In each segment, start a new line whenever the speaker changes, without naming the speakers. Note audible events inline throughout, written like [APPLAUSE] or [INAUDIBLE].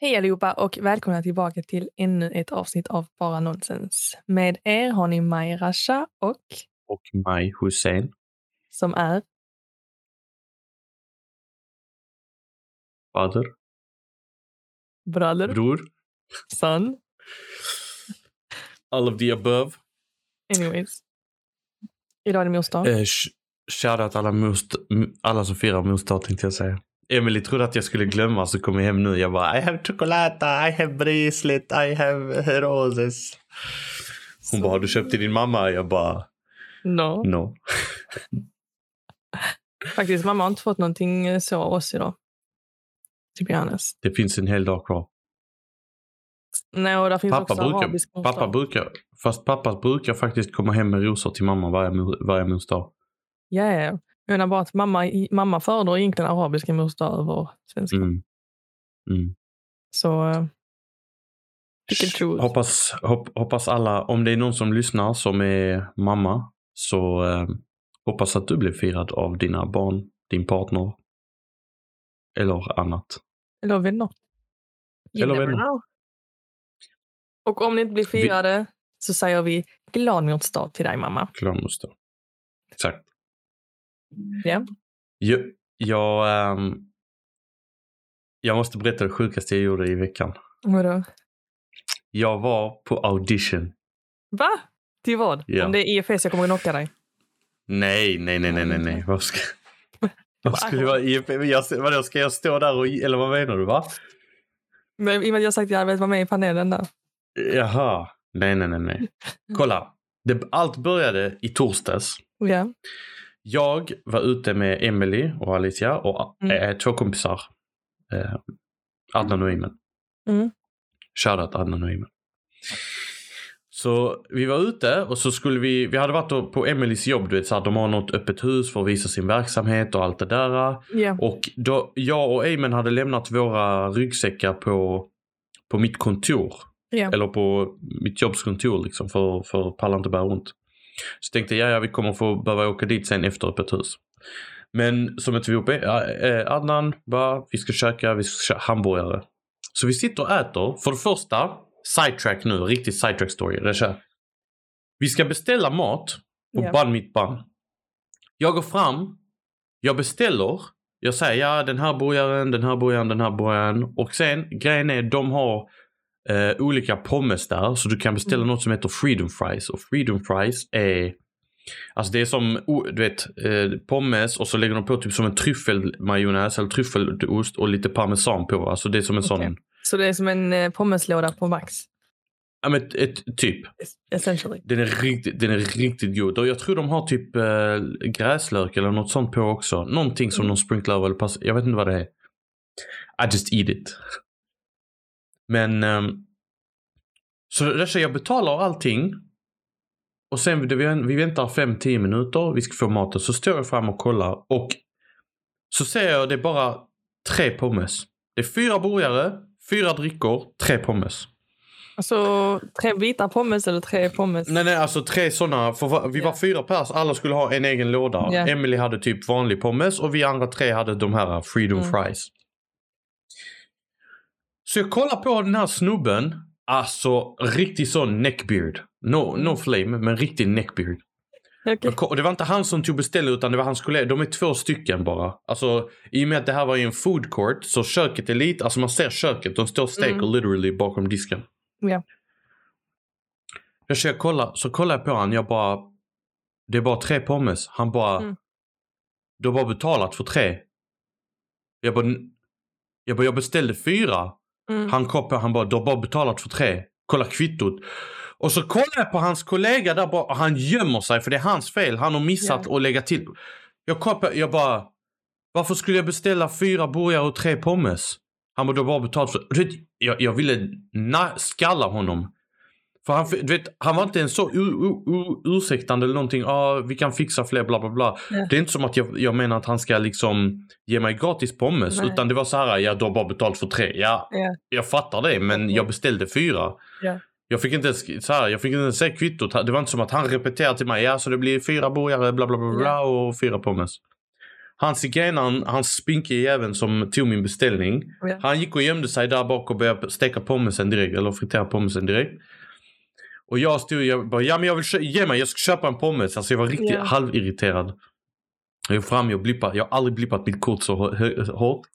Hej allihopa och välkomna tillbaka till ännu ett avsnitt av Bara Nonsens. Med er har ni Maj Rasha och
och Maj Hussein.
som är
Fader,
bröder,
bror,
son,
all of the above.
anyways. Idag är det mors dag.
Eh, sh- Shoutout alla, most, m- alla som firar mors dag tänkte jag säga. Emily trodde att jag skulle glömma så kom jag hem nu. Jag bara I have chocolata, I have brislet, I have roses. Hon bara har du köpt till din mamma? Jag bara
No.
no.
Faktiskt, mamma har inte fått någonting eh, så av oss idag. To be honest.
Det finns en hel dag kvar.
Nej, och där finns
Pappa
också arabisk
brukar,
mors
pappa
dag.
brukar, fast pappa brukar faktiskt komma hem med rosor till mamma varje, mor- varje mors dag.
Ja, ja, ja. Jag menar bara att mamma, mamma föredrar egentligen arabiska mors dag över svenska.
Mm. Mm.
Så eh, Vilken tro.
Hoppas, hopp, hoppas alla, om det är någon som lyssnar som är mamma, så eh, hoppas att du blir firad av dina barn, din partner eller annat.
Eller vänner. You
Eller
never
vänner.
know. Och om ni inte blir firade så säger vi glad mjortsdag till dig mamma.
Klarmoster. Exakt.
Ja.
Jag, jag, ehm, jag måste berätta det sjukaste jag gjorde i veckan.
Vadå?
Jag var på audition.
Va? Till vad?
Ja.
Om det är IFS jag kommer att knocka dig.
Nej, nej, nej, nej, nej, nej. Vad ska, vad skulle jag, jag, vadå, ska jag stå där och, eller vad menar du? Va?
Men i och med att jag sagt att jag vill vara med i panelen där.
Jaha. Nej, nej,
[LAUGHS]
nej. nej. Kolla. Det, allt började i torsdags.
Ja.
Jag var ute med Emily och Alicia och
Mm.
eh, två kompisar. Eh, Adnan och Iman.
Mm.
Shoutout Adnan och Iman. Så vi var ute och så skulle vi, vi hade varit på Emelies jobb, du vet så här, de har något öppet hus för att visa sin verksamhet och allt det där.
ja.
Och då, jag och Eamon hade lämnat våra ryggsäckar på, på mitt kontor.
Ja.
Eller på mitt jobbskontor liksom, för, för att palla inte bära runt. Så tänkte jag, ja vi kommer få behöva åka dit sen efter öppet hus. Men som ett vi uppe, eh, Adnan bara, vi ska käka, vi ska köra hamburgare. Så vi sitter och äter. För det första, sidetrack nu, riktigt sidetrack story. Det är så här. Vi ska beställa mat och
Ja.
band mitt band. Jag går fram, jag beställer, jag säger ja den här burgaren, den här burgaren, den här burgaren. Och sen grejen är de har eh, olika pommes där så du kan beställa
Mm.
något som heter freedom fries. Och freedom fries är Alltså det är som, o- du vet, eh, pommes och så lägger de på typ som en tryffelmajonnäs eller tryffelost och lite parmesan på. Alltså det är som en
Okej.
sån,
Så det är som en eh, pommeslåda på Max.
ja men ett, ett typ.
Essentially.
Den är riktigt, den är riktigt god. Och jag tror de har typ eh, gräslök eller något sånt på också. Någonting som
Mm.
de sprinklar över. eller pass- Jag vet inte vad det är. I just eat it. Men... ehm, så det så jag betalar allting. Och sen det- vi väntar 5-10 minuter. Vi ska få maten. Så står jag fram och kollar. Och så ser jag det är bara tre pommes. Det är fyra burgare, fyra drickor, tre pommes.
Alltså tre bitar pommes eller tre pommes?
Nej, nej, alltså tre sådana. För va- vi var
Ja.
fyra pers, alla skulle ha en egen låda.
Ja.
Emily hade typ vanlig pommes och vi andra tre hade de här freedom
Mm.
fries. Så jag kollar på den här snubben. Alltså riktig sån neckbeard. No,
Mm.
no flame, men riktig neckbeard.
Okej.
Och ko- och det var inte han som tog beställ utan det var hans kollega. De är två stycken bara. Alltså i och med att det här var ju en food court så köket är lite, alltså man ser köket. De står och steker
Mm.
literally bakom disken.
Ja.
Jag kör kolla, så kollar jag på han, jag bara. Det är bara tre pommes. Han bara.
Mm.
Du har bara betalat för tre. Jag bara. "N- Jag bara, jag beställde fyra.
Mm.
Han kom på, han bara, du har bara betalat för tre. Kolla kvittot. Och så kollar jag på hans kollega där bara, och han gömmer sig för det är hans fel. Han har missat att lägga till. Jag kollar på, jag bara, varför skulle jag beställa fyra burgare och tre pommes? Han bara, du har bara betalat för... Du vet, jag, jag ville na- skalla honom. För han, du vet, han var inte ens så u- u- u- ursäktande eller någonting. Ah, vi kan fixa fler bla bla bla.
Ja.
Det är inte som att jag, jag menar att han ska liksom ge mig gratis pommes.
Nej.
Utan det var så här, ja du har bara betalt för tre. Ja,
Ja.
jag fattar det men jag beställde fyra.
Ja.
Jag fick inte ens, så här, jag fick inte ens se kvittot. Det var inte som att han repeterade till mig, ja så det blir fyra burgare bla bla bla, bla
Ja.
och fyra pommes. Han zigenaren, han spinkiga jäveln som tog min beställning.
Ja.
Han gick och gömde sig där bak och började steka pommesen direkt. Eller fritera pommesen direkt. Och jag stod och bara, ja men jag vill kö- ge mig, jag ska köpa en pommes. Alltså jag var riktigt
Ja.
halvirriterad. Jag är fram, jag blippar. Jag har aldrig blippat mitt kort så hö- hö- hårt.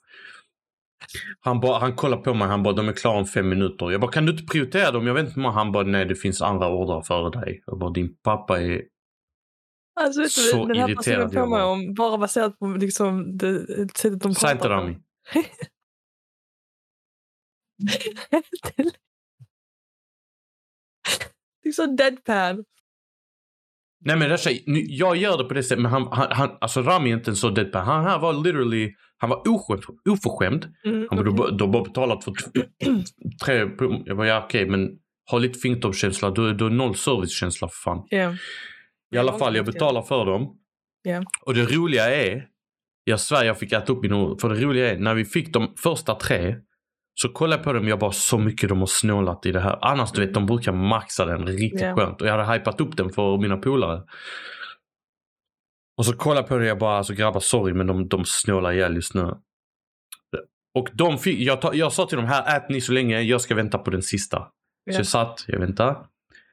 Han, bara, han kollar på mig, han bara de är klara om fem minuter. Jag bara kan du inte prioritera dem? Jag vet inte hur många. Han bara nej det finns andra ordrar före dig. Jag bara din pappa är...
Alltså, vet du,
Så
den här
irriterad
personen
jag
påminner
var.
om, bara baserat på liksom, det, sättet de
Säg inte
pratar
Rami.
på. Till- liksom deadpan.
Nej men Rasha, nu- jag gör det på det sättet men han, han, han alltså Rami är inte en så deadpan. Han här var literally, han var oskämd, oförskämd.
Mm,
Han bara,
okej.
du, har- du har bara betalat för t- [CLEARS THROAT] tre prom- Jag bara ja okej men ha lite fingertoppskänsla, du, du har noll servicekänsla för fan.
Ja.
I alla fall, jag betalar för dem.
Ja.
Och det roliga är, jag svär jag fick äta upp min oro, för det roliga är när vi fick de första tre så kollade jag på dem jag bara så mycket de har snålat i det här. Annars du vet de brukar maxa den riktigt
Ja.
skönt och jag hade hypat upp den för mina polare. Och så kollade jag på det jag bara alltså grabbar sorry men de, de snålar ihjäl just nu. Och de fick, jag, ta, jag sa till dem här ät ni så länge jag ska vänta på den sista.
Ja.
Så jag satt, jag väntade.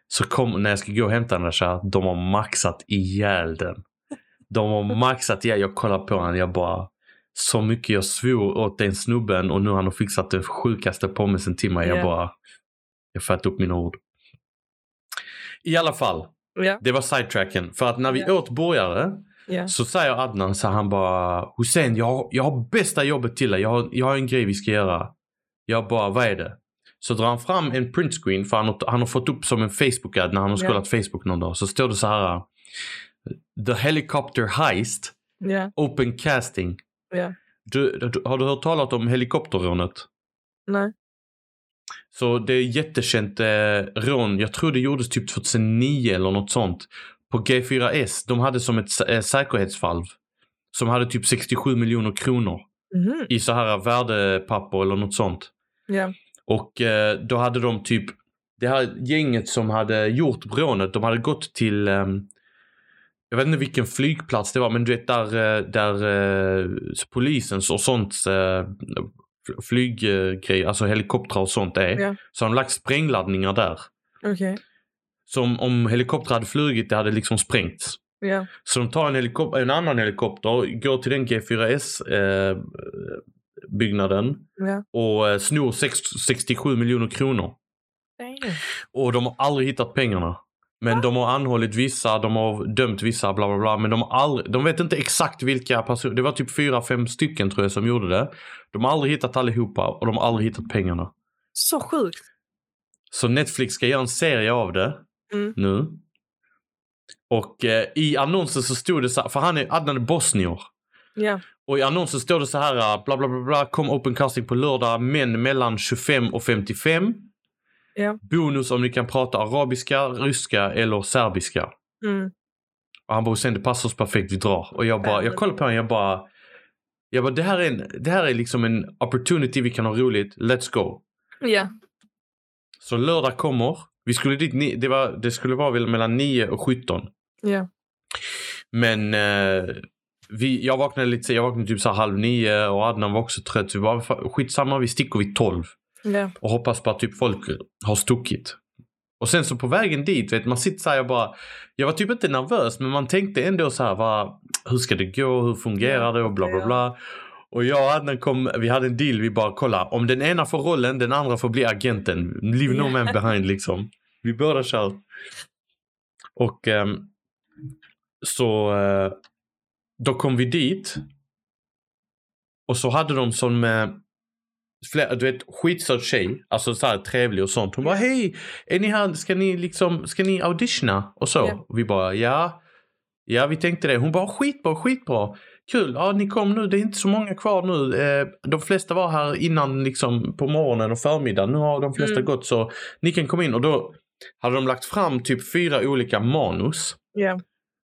Så kom, när jag skulle gå och hämta den där så här, de har maxat ihjäl den. De har maxat ihjäl, jag kollar på honom, jag bara så mycket jag svor åt den snubben och nu har han fixat den sjukaste pommesen till mig. Jag
Ja.
bara, jag fattar upp mina ord. I alla fall,
Ja,
det var sidetracken. För att när vi
Ja.
åt burgare
ja.
så säger Adnan så han bara Hussein jag har, jag har bästa jobbet till dig. Jag har, jag har en grej vi ska göra. Jag bara vad är det? Så drar han fram en printscreen för han har, han har fått upp som en Facebook-ad när han har
Ja.
scrollat Facebook någon dag. Så står det så här. The helicopter heist
ja.
open casting.
Ja.
Du, du, har du hört talat om helikopterrånet?
Nej.
Så det är jättekänt eh, rån. Jag tror det gjordes typ 2009 eller något sånt. På G4S. De hade som ett sä- eh, säkerhetsvalv. Som hade typ 67 miljoner kronor
Mhm.
i så här värdepapper eller något sånt.
Ja.
Och eh, då hade de typ det här gänget som hade gjort rånet. De hade gått till ehm, jag vet inte vilken flygplats det var men du vet där, eh, där eh, polisens och sånt eh, flyggrej, alltså helikoptrar och sånt är.
Ja.
Så har de lagt sprängladdningar där.
Okej.
Som om helikoptrar hade flugit, det hade liksom sprängts.
Ja.
Så de tar en, helikop- en annan helikopter, går till den G4S-byggnaden
Ja.
eh, och eh, snor sex- 67 miljoner kronor.
Damn.
Och de har aldrig hittat pengarna. Men de har anhållit vissa, de har dömt vissa, bla bla bla. Men de, har aldrig, de vet inte exakt vilka personer. Det var typ fyra, fem stycken tror jag som gjorde det. De har aldrig hittat allihopa och de har aldrig hittat pengarna.
Så sjukt.
Så Netflix ska göra en serie av det
Mm.
nu. Och eh, i annonsen så stod det så här, för han är Adnan är bosnier.
Ja.
Och i annonsen står det så här, eh, bla bla bla, bla kom open casting på lördag, män mellan 25 och 55.
Ja.
Bonus om ni kan prata arabiska, ryska eller serbiska.
Mm.
Och han bara sen det passar oss perfekt, vi drar. Och jag bara, jag kollar på honom, jag bara, jag bara det här är, en, det här är liksom en opportunity vi kan ha roligt, let's go.
Ja.
Så lördag kommer, vi skulle dit, ni- det, var, det skulle vara väl mellan 9 och 17.
Ja.
Men eh, vi, jag vaknade lite sen- jag vaknade typ så här halv nio och Adnan var också trött. Så vi bara, "Fan, skitsamma vi sticker vid tolv
Ja.
och hoppas på att typ folk har stuckit. Och sen så på vägen dit, vet man sitter så här, jag bara, jag var typ inte nervös men man tänkte ändå så här, va, hur ska det gå, hur fungerar det och bla bla bla. Och jag och Adnan kom, vi hade en deal, vi bara kolla, om den ena får rollen, den andra får bli agenten. Leave no man behind liksom. Vi båda kör. Och ehm, så eh, då kom vi dit. Och så hade de som eh, flera, du vet skitsöt tjej, alltså så här trevlig och sånt. Hon bara hej, är ni här, ska ni liksom, ska ni auditiona och så?
Ja.
Och vi bara ja, ja vi tänkte det. Hon bara skitbra, skitbra, kul, ja ni kom nu, det är inte så många kvar nu. Eh, de flesta var här innan liksom på morgonen och förmiddagen, nu har de flesta
Mm.
gått så ni kan komma in. Och då hade de lagt fram typ fyra olika manus.
Ja.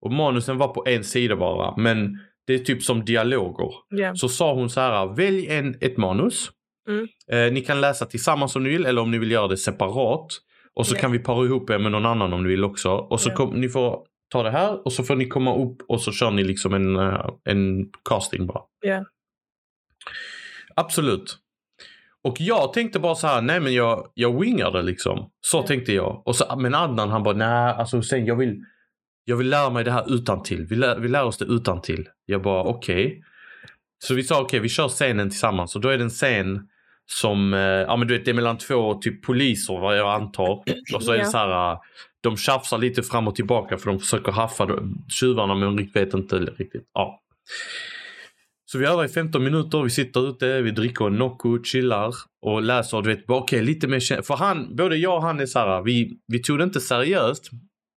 Och manusen var på en sida bara. Men det är typ som dialoger.
Ja.
Så sa hon så här, välj en, ett manus.
Mm.
Eh, ni kan läsa tillsammans om ni vill eller om ni vill göra det separat. Och så
Ja.
kan vi para ihop er med någon annan om ni vill också. Och så
Ja.
kom, ni får ta det här och så får ni komma upp och så kör ni liksom en, eh, en casting bara.
Ja.
Absolut. Och jag tänkte bara så här, nej men jag, jag wingar det liksom. Så
Mm.
tänkte jag. Och så, men Adnan han bara, nej alltså sen jag vill, jag vill lära mig det här utan till. Vi lär, vi lär oss det utan till. Jag bara okej. Så vi sa okej, vi kör scenen tillsammans. Och då är det en scen som, eh, ja men du vet det är mellan två typ poliser vad jag antar. Och så är det
Ja.
så här, eh, de tjafsar lite fram och tillbaka för de försöker haffa de- tjuvarna men de vet inte riktigt. Ja. Så vi övar i 15 minuter, vi sitter ute, vi dricker en Nocco, chillar och läser och du vet, bara, okej lite mer kä- För han, både jag och han är så här, eh, vi, vi tog det inte seriöst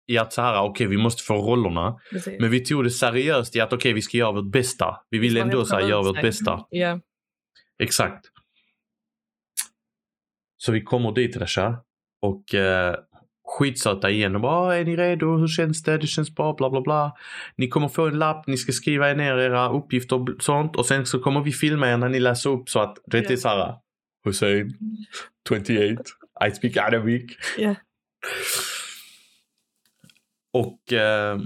i att så här, okej vi måste få rollerna.
Precis.
Men vi tog det seriöst i att okej vi ska göra vårt bästa. Vi
Visst,
ville
man
ändå
öppnar
så här, göra
upp
vårt
sig.
bästa.
Ja.
Exakt. Så vi kommer dit Rasha och eh, skitsöta igen och bara "Ah, är ni redo? Hur känns det? Det känns bra bla bla bla. Ni kommer få en lapp, ni ska skriva ner era uppgifter och bl- sånt och sen så kommer vi filma er när ni läser upp så att det är
Ja.
så här Hussein 28 I speak Arabic.
Ja.
Och eh,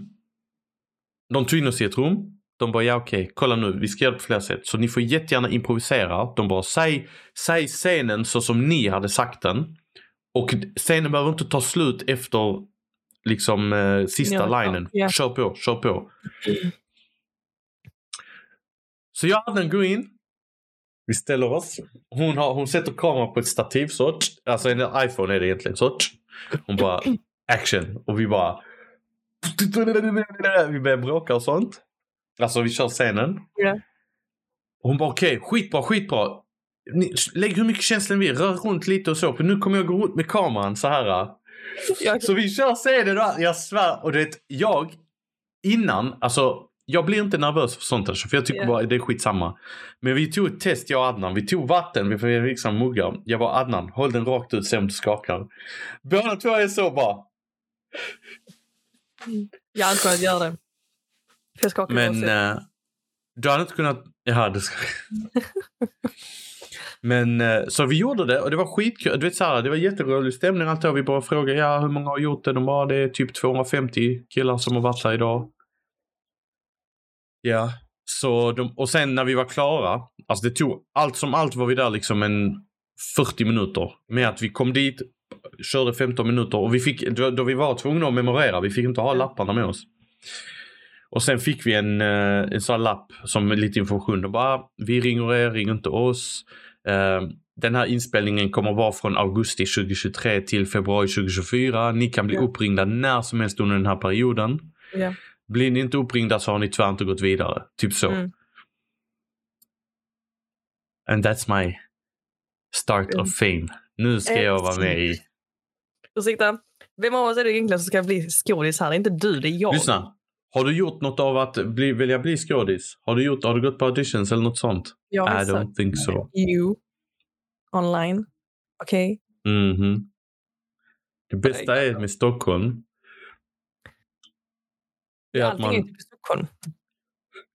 de tog in oss i ett rum. De bara, ja okej, kolla nu, vi ska göra det på flera sätt. Så ni får jättegärna improvisera. De bara, säg, säg scenen så som ni hade sagt den. Och scenen behöver inte ta slut efter liksom eh, sista
Ja,
linen.
ja.
Kör på, kör på. Så jag hade den gå in. Vi ställer oss. Hon, har, hon sätter kameran på ett stativ så. tsch. Alltså en iPhone är det egentligen så. tsch. Hon bara action. Och vi bara. Vi börjar bråka och sånt. Alltså vi kör scenen.
Ja.
Och hon bara okej, skitbra, skitbra. Ni, lägg hur mycket känslan vi rör runt lite och så. För nu kommer jag gå runt med kameran så här.
Jag,
Så vi kör scenen och jag svär. Och du vet, jag innan, alltså jag blir inte nervös för sånt här, för jag tycker
Ja.
bara det är skitsamma. Men vi tog ett test, jag och Adnan. Vi tog vatten, vi fick liksom muggar. Jag bara Adnan, håll den rakt ut, se om du skakar. Båda två är så bara.
jag antar att jag gör det. För jag skakar
Men
också.
eh, du hade inte kunnat... Ja, det ska...
[LAUGHS]
Men eh, så vi gjorde det och det var skitkul. Du vet så här, det var jätterolig stämning allt det här. Vi bara frågade ja, hur många har gjort det. De bara det är typ 250 killar som har varit här idag. Ja, så de, och sen när vi var klara. Alltså det tog allt som allt var vi där liksom en 40 minuter med att vi kom dit, körde 15 minuter och vi fick då, då vi var tvungna att memorera. Vi fick inte ha
Ja.
lapparna med oss. Och sen fick vi en, eh, en sån här lapp som med lite information. De bara, vi ringer er, ring inte oss. Eh, Den här inspelningen kommer vara från augusti 2023 till februari 2024. Ni kan bli
Ja.
uppringda när som helst under den här perioden.
Ja.
Blir ni inte uppringda så har ni tyvärr inte gått vidare. Typ så.
Mm.
And that's my start
Mm.
of fame. Nu
Eh,
ska jag vara med i...
Ursäkta. Vem av oss är det egentligen som ska bli skådis här? Det är inte du, det är jag.
Lyssna. Har du gjort något av att bli, vilja bli skådis? Har du, gjort, har du gått på auditions eller något sånt?
Jag har
I
sagt
don't think so.
you online. Okej?
Mhm. Det bästa är med Stockholm. Är att
Allting är ju
man,
typ i Stockholm.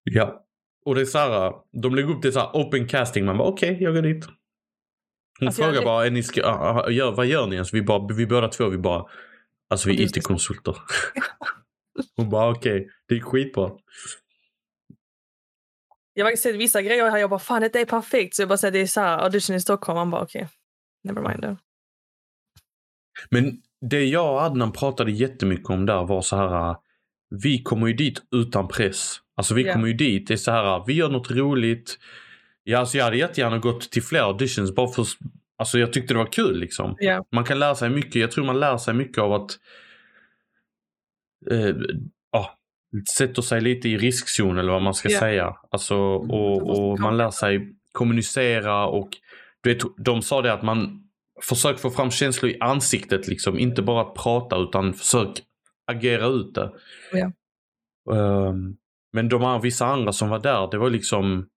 ja. Och det är så här, de lägger upp det så här open casting. Man bara okej, jag går dit. Hon
Alltså, jag
frågar
hade-
bara, är ni ska, ah, ah, gör, vad gör ni? Alltså, vi, bara, vi båda två, vi bara, alltså vi
Och
är
du ska- [LAUGHS]
IT-konsulter. [LAUGHS] Hon bara okej, det gick skitbra.
Jag har sett vissa grejer här. Jag bara, fan det är perfekt. Så jag bara säger det är så här, audition i Stockholm. Man bara, okej. Never mind. då.
Men det jag och Adnan pratade jättemycket om där var så här. äh, Vi kommer ju dit utan press. Alltså vi
Ja.
kommer ju dit. Det är så här. äh, Vi gör något roligt. Ja, alltså jag hade jättegärna gått till fler auditions bara för Alltså jag tyckte det var kul liksom.
Ja.
Man kan lära sig mycket. Jag tror man lär sig mycket av att eh, ja, sätter sig lite i riskzon eller vad man ska
Ja.
säga. Alltså,
Man
och,
måste
och man lär sig kommunicera och du vet, de sa det att man försök få fram känslor i ansiktet liksom. Inte bara att prata utan försök agera ut det.
Ja.
Ehm, men de här, vissa andra som var där, det var liksom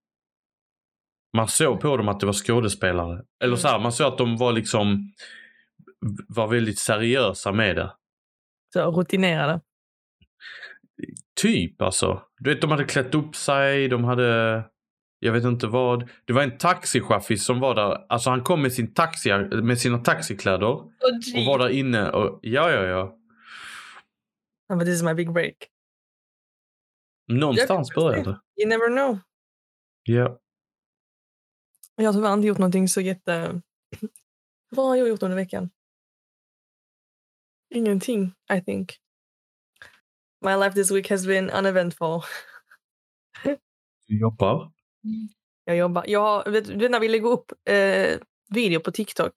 man såg på dem att det var skådespelare.
Mm.
Eller så här, man såg att de var liksom var väldigt seriösa med det.
Så rutinerade.
Typ alltså. Du vet, de hade klätt upp sig, de hade... Jag vet inte vad. Det var en taxichaffis som var där. Alltså han kom med, sin taxi, med sina taxikläder
Och
och var där inne och... Ja, ja, ja.
Han bara, this is my big break.
Någonstans
Jag kan
började det.
You never know.
Ja.
Jag har tyvärr inte gjort någonting så jätte... [CLEARS THROAT] Vad har jag gjort under veckan? Ingenting, I think. My life this week has been uneventful.
Du jobbar.
Jag jobbar. Jag har, vet du när vi lägger upp eh, video på TikTok?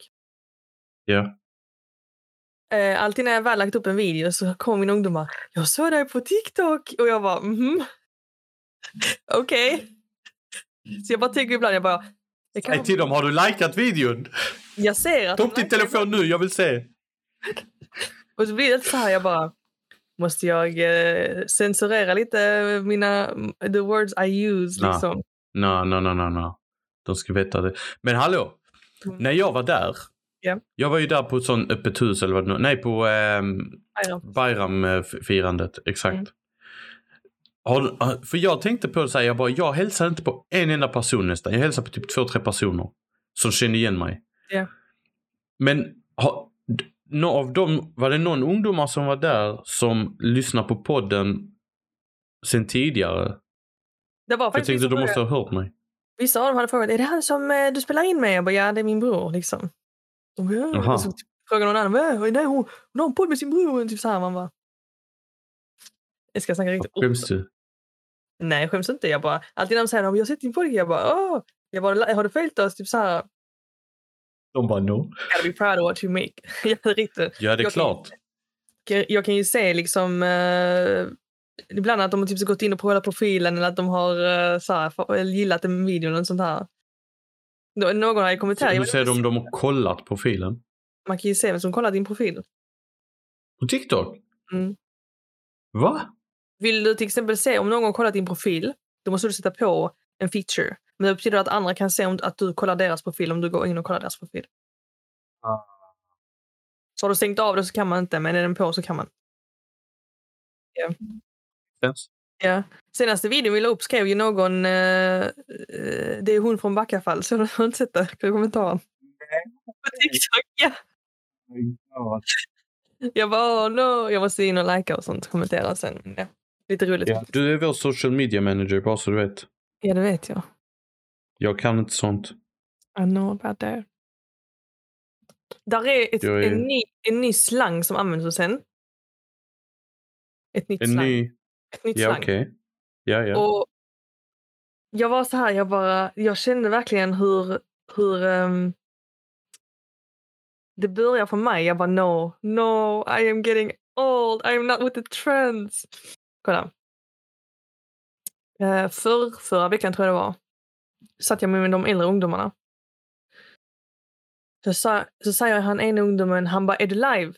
Ja.
Eh, alltid när jag väl lagt upp en video så kommer mina ungdomar. Jag såg dig på TikTok och jag bara mhm. [LAUGHS] Okej. Så jag bara tänker ibland, jag bara. Jag,
Säg
kan,
till dem, har du likat videon?
jag ser att
Ta
de
upp din
likar den.
telefon nu, jag vill se.
Och så blir det så här, jag bara... Måste jag eh, censurera lite mina... The words I use,
Nej.
liksom.
Nej, nej, nej, nej, nej. De ska veta det. Men hallå,
Mm.
när jag var där.
Ja.
Jag var ju där på ett sånt öppet hus eller vad det nu Nej, på ehm,
Nej då.
Bayram-firandet. Exakt.
Mm.
Har du- har- för jag tänkte på det så här, jag bara, jag hälsar inte på en enda person nästan. Jag hälsar på typ två, tre personer som kände igen mig.
Ja.
Men har, d- nå- av dem, var det någon ungdomar som var där som lyssnar på podden sen tidigare?
Det var
För jag
faktiskt
tänkte
vissa,
de måste
frågade-
ha hört mig.
vissa av dem hade frågat är det han som eh, du spelar in med. Jag bara, ja, det är min bror. Liksom. De bara, ja.
Jaha.
Och så typ frågade någon annan, "Va? nej, hon, hon har en podd med sin bror. Typ så här, man bara... Jag ska snacka riktigt.
Skäms du?
Nej, jag skäms inte. Jag bara, alltid när de säger "Ja, men jag har sett din podd, jag bara, åh. Jag bara, har du följt oss? Typ så här,
De bara no.
gotta be proud of what you make. [LAUGHS] jag hade riktigt.
Ja, det är
Jag-
klart.
jag, jag kan ju se liksom eh, ibland att de har typ så gått in och kollat profilen eller att de har eh, så här, fa- gillat en video eller något sånt här. Nå- Någon har ju kommenterat.
Hur
jag
ser
vet
de om
inte,
de har kollat profilen?
Man kan ju se vem som kollar din profil.
På TikTok?
Mm.
Va?
Vill du till exempel se om någon har kollat din profil, då måste du sätta på en feature. Men det betyder att andra kan se om, att du kollar deras profil om du går in och kollar deras profil.
Ah.
Så har du stängt av det så kan man inte, men är den på så kan man.
Yes.
Ja. Senaste videon vi la upp skrev ju någon... eh, eh, det är hon från Backafall, så [LAUGHS] har du inte sett det? i Kommentaren. På TikTok, ja. Jag bara, oh, no. Jag måste in och likea och sånt, kommentera sen. Ja. Lite roligt.
Mm. Ja.
Ja.
Du är vår social media manager bara så du vet.
det vet jag.
Jag kan inte sånt.
I know about that. Där är, ett,
Jag är-
En, ny, en ny slang som används hos en. Ett nytt
En
slang.
ny...
Ett nytt
Ja,
slang.
okej. Ja, ja.
Och jag var så här, jag bara, jag kände verkligen hur, hur ehm, det börjar för mig. Jag bara no, no, I am getting old, I am not with the trends. Kolla. Uh, för, förra veckan tror jag det var, satt jag med de äldre ungdomarna. Så, sa, så säger han en ungdomen, han bara är du live?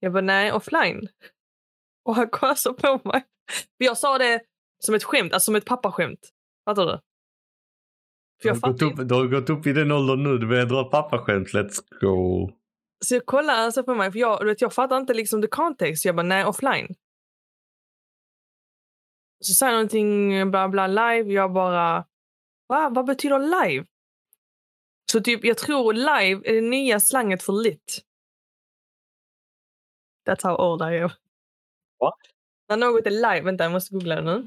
Jag bara nej, offline. Och han kollar så på mig. För jag sa det som ett skämt, alltså som ett pappaskämt. Fattar du? För jag
du, har gått
fattar inte.
upp, du har gått upp i den åldern nu. Du börjar dra pappaskämt. Let's go.
Så jag kollar alltså på mig, för jag, du vet, jag fattar inte liksom the context. Jag bara, nej, offline. Så säger jag någonting, bla bla, live. Jag bara, Va? vad betyder live? Så typ, jag tror live är det nya slanget för lit. That's how old I am.
Va?
När något är live, vänta, jag måste googla det nu.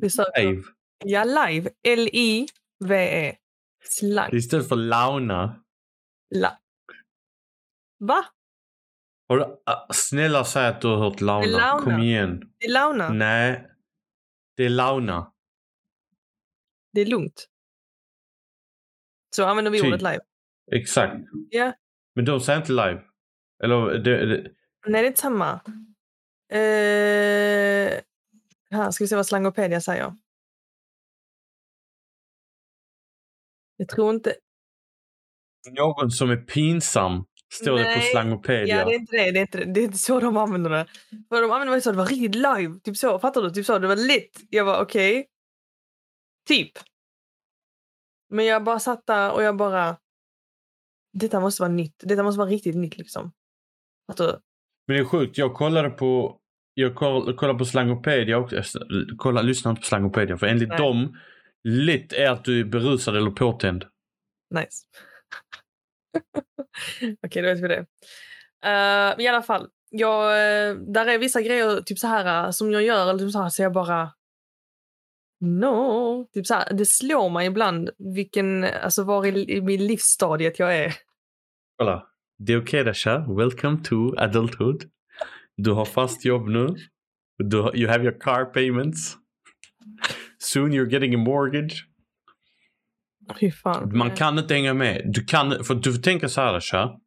Vi söker-
Live.
Ja, live. L-I-V-E. Slang.
Istället för launa.
La. Va?
Har du, ah, snälla säg att du har hört launa.
Det är launa.
Kom igen.
Det är launa.
Nej. Det är launa.
Det är lugnt. Så använder vi
Typ.
ordet live.
Exakt.
Ja.
Men de säger inte live. Eller det, det,
Nej, det är inte samma. Eh, här ska vi se vad slangopedia säger. Jag tror inte...
någon som är pinsam står det på
Nej.
slangopedia.
Ja, det är inte det. Det är inte, det. det är inte så de använder det. För de använder det så det var riktigt live. Typ så, fattar du? Typ så, det var lit. Jag var okej. Typ. Men jag bara satt där och jag bara... Detta måste vara nytt. Detta måste vara riktigt nytt liksom. Fattar du?
Men det är sjukt. Jag kollade på jag koll- kollade på slangopedia också. Jag s- Kolla, lyssna inte på slangopedia. För enligt
Nej.
dem, litt är att du är berusad eller påtänd.
[LAUGHS] Nice. Okej, då vet vi det. Eh, men I alla fall, jag, eh, där är vissa grejer typ så här, eh, som jag gör, eller typ så, här, så jag bara... No. Typ så här, det slår mig ibland vilken, alltså var i, i min livsstadiet jag är. [LAUGHS]
Kolla. Det är okej Dasha. Welcome to adulthood. Du har fast jobb nu. Du, har- you have your car payments. Soon you're getting a mortgage.
Fy fan.
Man kan inte hänga med. Du kan, för du får tänka så här Dasha.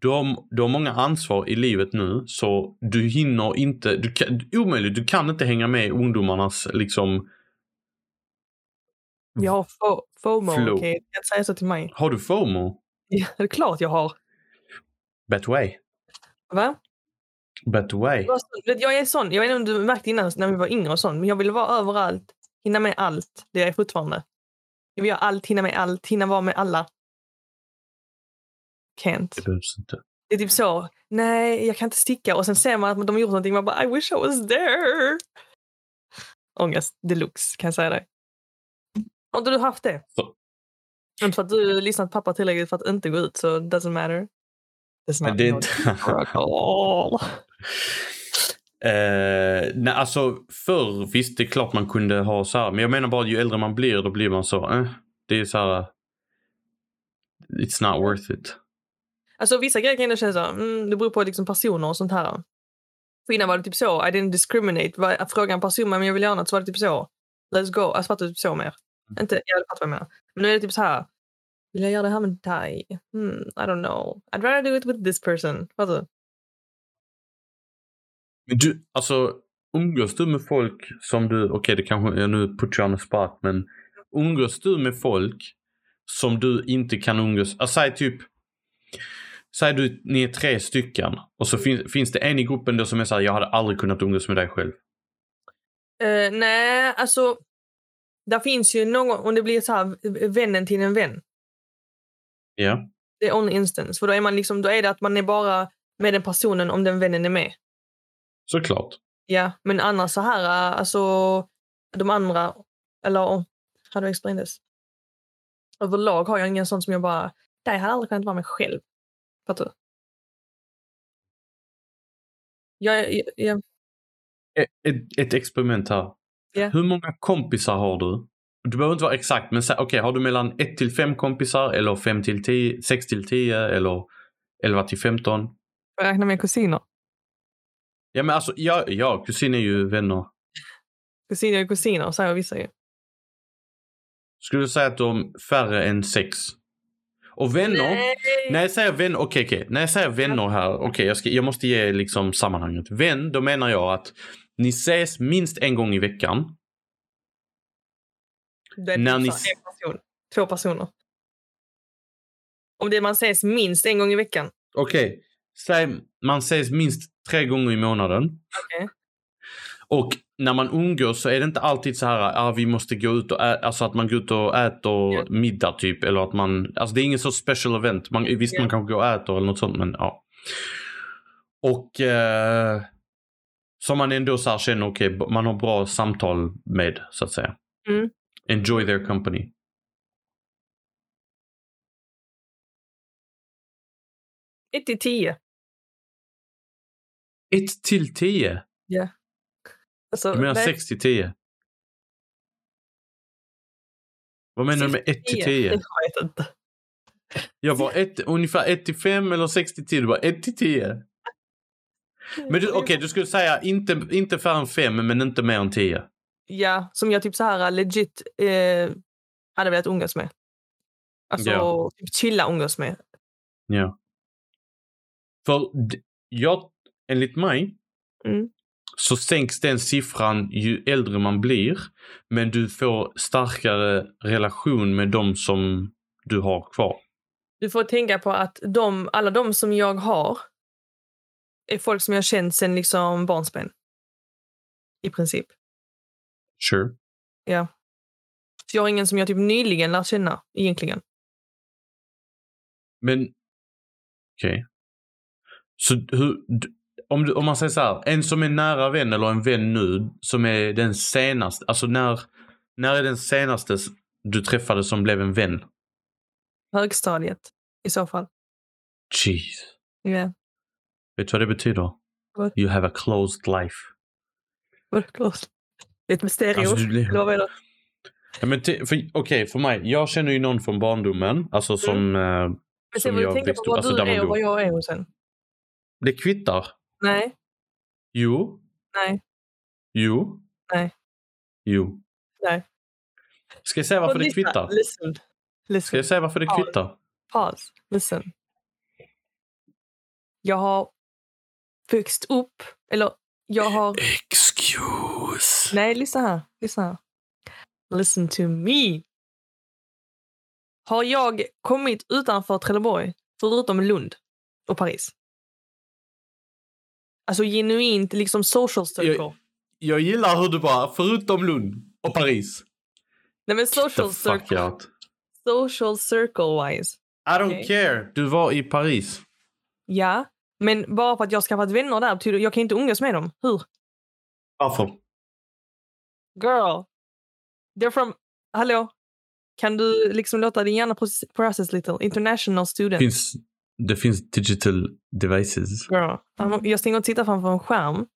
Du har, du har många ansvar i livet nu så du hinner inte. Du kan, omöjligt, du kan inte hänga med i ungdomarnas liksom.
Jag har fo- FOMO.
Flow.
Okej, jag kan inte säga så till mig. [LAUGHS]
Har du FOMO?
Ja, det är klart jag har.
Bet way.
Va?
Bet way.
Det var så- du vet, Jag är sån. Jag vet inte om du märkte innan när vi var yngre och sånt. Men jag ville vara överallt. Hinna med allt. Det är jag fortfarande. Jag vill göra allt, hinna med allt, hinna vara med alla. Can't.
Det behövs inte.
Det är typ så. Nej, jag kan inte sticka. Och sen ser man att de har gjort någonting. Man bara, I wish I was there. Ångest deluxe, kan jag säga dig. Har inte du haft det?
Så.
Inte för att du lyssnat pappa tillräckligt för att inte gå ut, så it doesn't matter. Doesn't
Men det är inte... [LAUGHS] Eh, nej, alltså förr, visst det är klart man kunde ha så här. Men jag menar bara ju äldre man blir då blir man så, eh, det är så här. It's not worth it.
Alltså vissa grejer kan jag känna så här, mm, det beror på liksom personer och sånt här. För innan var det typ så, I didn't discriminate. Var- Frågade en person men jag vill göra något så var det typ så. Let's go. Alltså fattar du typ så mer? Inte, jag fattar vad jag menar. Men nu är det typ så här. Vill jag göra det här med dig? Hmm, I don't know. I'd rather do it with this person. Fattar du?
Men du, alltså umgås du med folk som du, okej det kanske, jag nu put you on the spot men umgås du med folk som du inte kan umgås, alltså, säg typ Säg du, ni är tre stycken och så fin, finns det en i gruppen då som är såhär, jag hade aldrig kunnat umgås med dig själv.
Eh, nej, alltså. Där finns ju någon, om det blir så här v- vännen till en vän.
Ja.
Det är only instance. För då är, man liksom, då är det att man är bara med den personen om den vännen är med.
Såklart.
Ja, men annars så här, äh, alltså de andra, eller om- hade jag experienced. Överlag har jag ingen sån som jag bara, det här hade aldrig kunnat vara mig själv. Fattar du? Jag, jag, jag,
ett, E-, ett- ett experiment här.
Ja.
Hur många kompisar har du? Du behöver inte vara exakt, men sä- okej, har du mellan 1 till 5 kompisar eller 5 till 10, 6 till 10 eller 11 till 15?
jag räknar med kusiner.
Ja, men alltså, ja, ja kusin är ju vänner.
Kusiner är kusiner, säger vissa ju.
Skulle du säga att de är färre än 6? Och vänner? När jag säger vänner, okej, okej. När jag säger vänner här, okej, jag, ska- jag måste ge liksom sammanhanget. Vän, då menar jag att ni ses minst en gång i veckan.
Det är
när
typ
ni
så här, en person, två personer. Om det man ses minst en gång i veckan.
Okej, säg man ses minst tre gånger i månaden.
Okej.
Och när man umgås så är det inte alltid så här ah, vi måste gå ut och ä- alltså att man går ut och äter
Ja.
middag typ eller att man alltså det är ingen så special event. Man, visst
Ja.
man kanske går och äter eller något sånt men ja. Och eh, som man ändå så här känner okej b- man har bra samtal med så att säga.
Mm.
Enjoy their company.
Ett till tio.
1 till 10.
Alltså,
Du menar
nej,
6 till 10? Vad menar du med 1 till 10?
Jag vet inte.
Jag var ett, ungefär 1 till 5 eller 6 till 10. Du var 1 till 10. Men du, okej, du skulle säga inte, inte färre än 5 men inte mer än 10.
Ja, som jag typ så här legit eh, hade velat umgås med. Alltså
Ja.
typ chilla umgås med.
För d- jag, enligt mig
Mm.
så sänks den siffran ju äldre man blir. Men du får starkare relation med de som du har kvar.
Du får tänka på att de, alla de som jag har är folk som jag känt sedan liksom barnsben. I princip.
Sure.
Så jag har ingen som jag typ nyligen lärt känna egentligen.
Men okej. Så hur, d- om, du, om man säger så här, en som är nära vän eller en vän nu som är den senaste, alltså när, när är den senaste s- du träffade som blev en vän?
Högstadiet i så fall.
Jeez.
Ja.
Vet du vad det betyder?
Vad?
You have a closed life.
Mörkblåst. Det är ett mysterium.
Alltså, du blir...
Eller vad menar du?
ja, men te- för, okej, för mig. Jag känner ju någon från barndomen. Alltså som...
Mm.
Eh,
Jag ser
Som
vad du
jag
tänker på
växte upp-
vad
alltså,
du
där man
är och
bor.
vad jag är och sen.
det kvittar.
Nej,
Jo.
Nej.
Jo.
Nej.
Jo.
Nej.
Ska jag säga varför
Och
det
lyssna,
kvittar?
Listen.
Ska
Listen.
jag säga varför det
Ja.
kvittar?
Paus. Listen. Jag har växt upp, eller jag
[LAUGHS]
har...
Excuse.
Nej, lyssna här. Lyssna här. Listen to me. Har jag kommit utanför Trelleborg, förutom Lund och Paris? Alltså genuint liksom social circle.
Jag gillar hur du bara, förutom Lund och Paris.
Nej men
The
social
fuck
circle,
out.
social circle wise.
I don't
Okej.
care. Du var i Paris.
Ja, men bara för att jag har skaffat vänner där betyder jag kan inte umgås med dem. Hur?
Varför?
Girl! They're from... Hallå? Kan du liksom låta din hjärna process, process lite? International student.
Finns, det finns digital devices.
Girl. I'm- Jag stänger och tittar framför en skärm.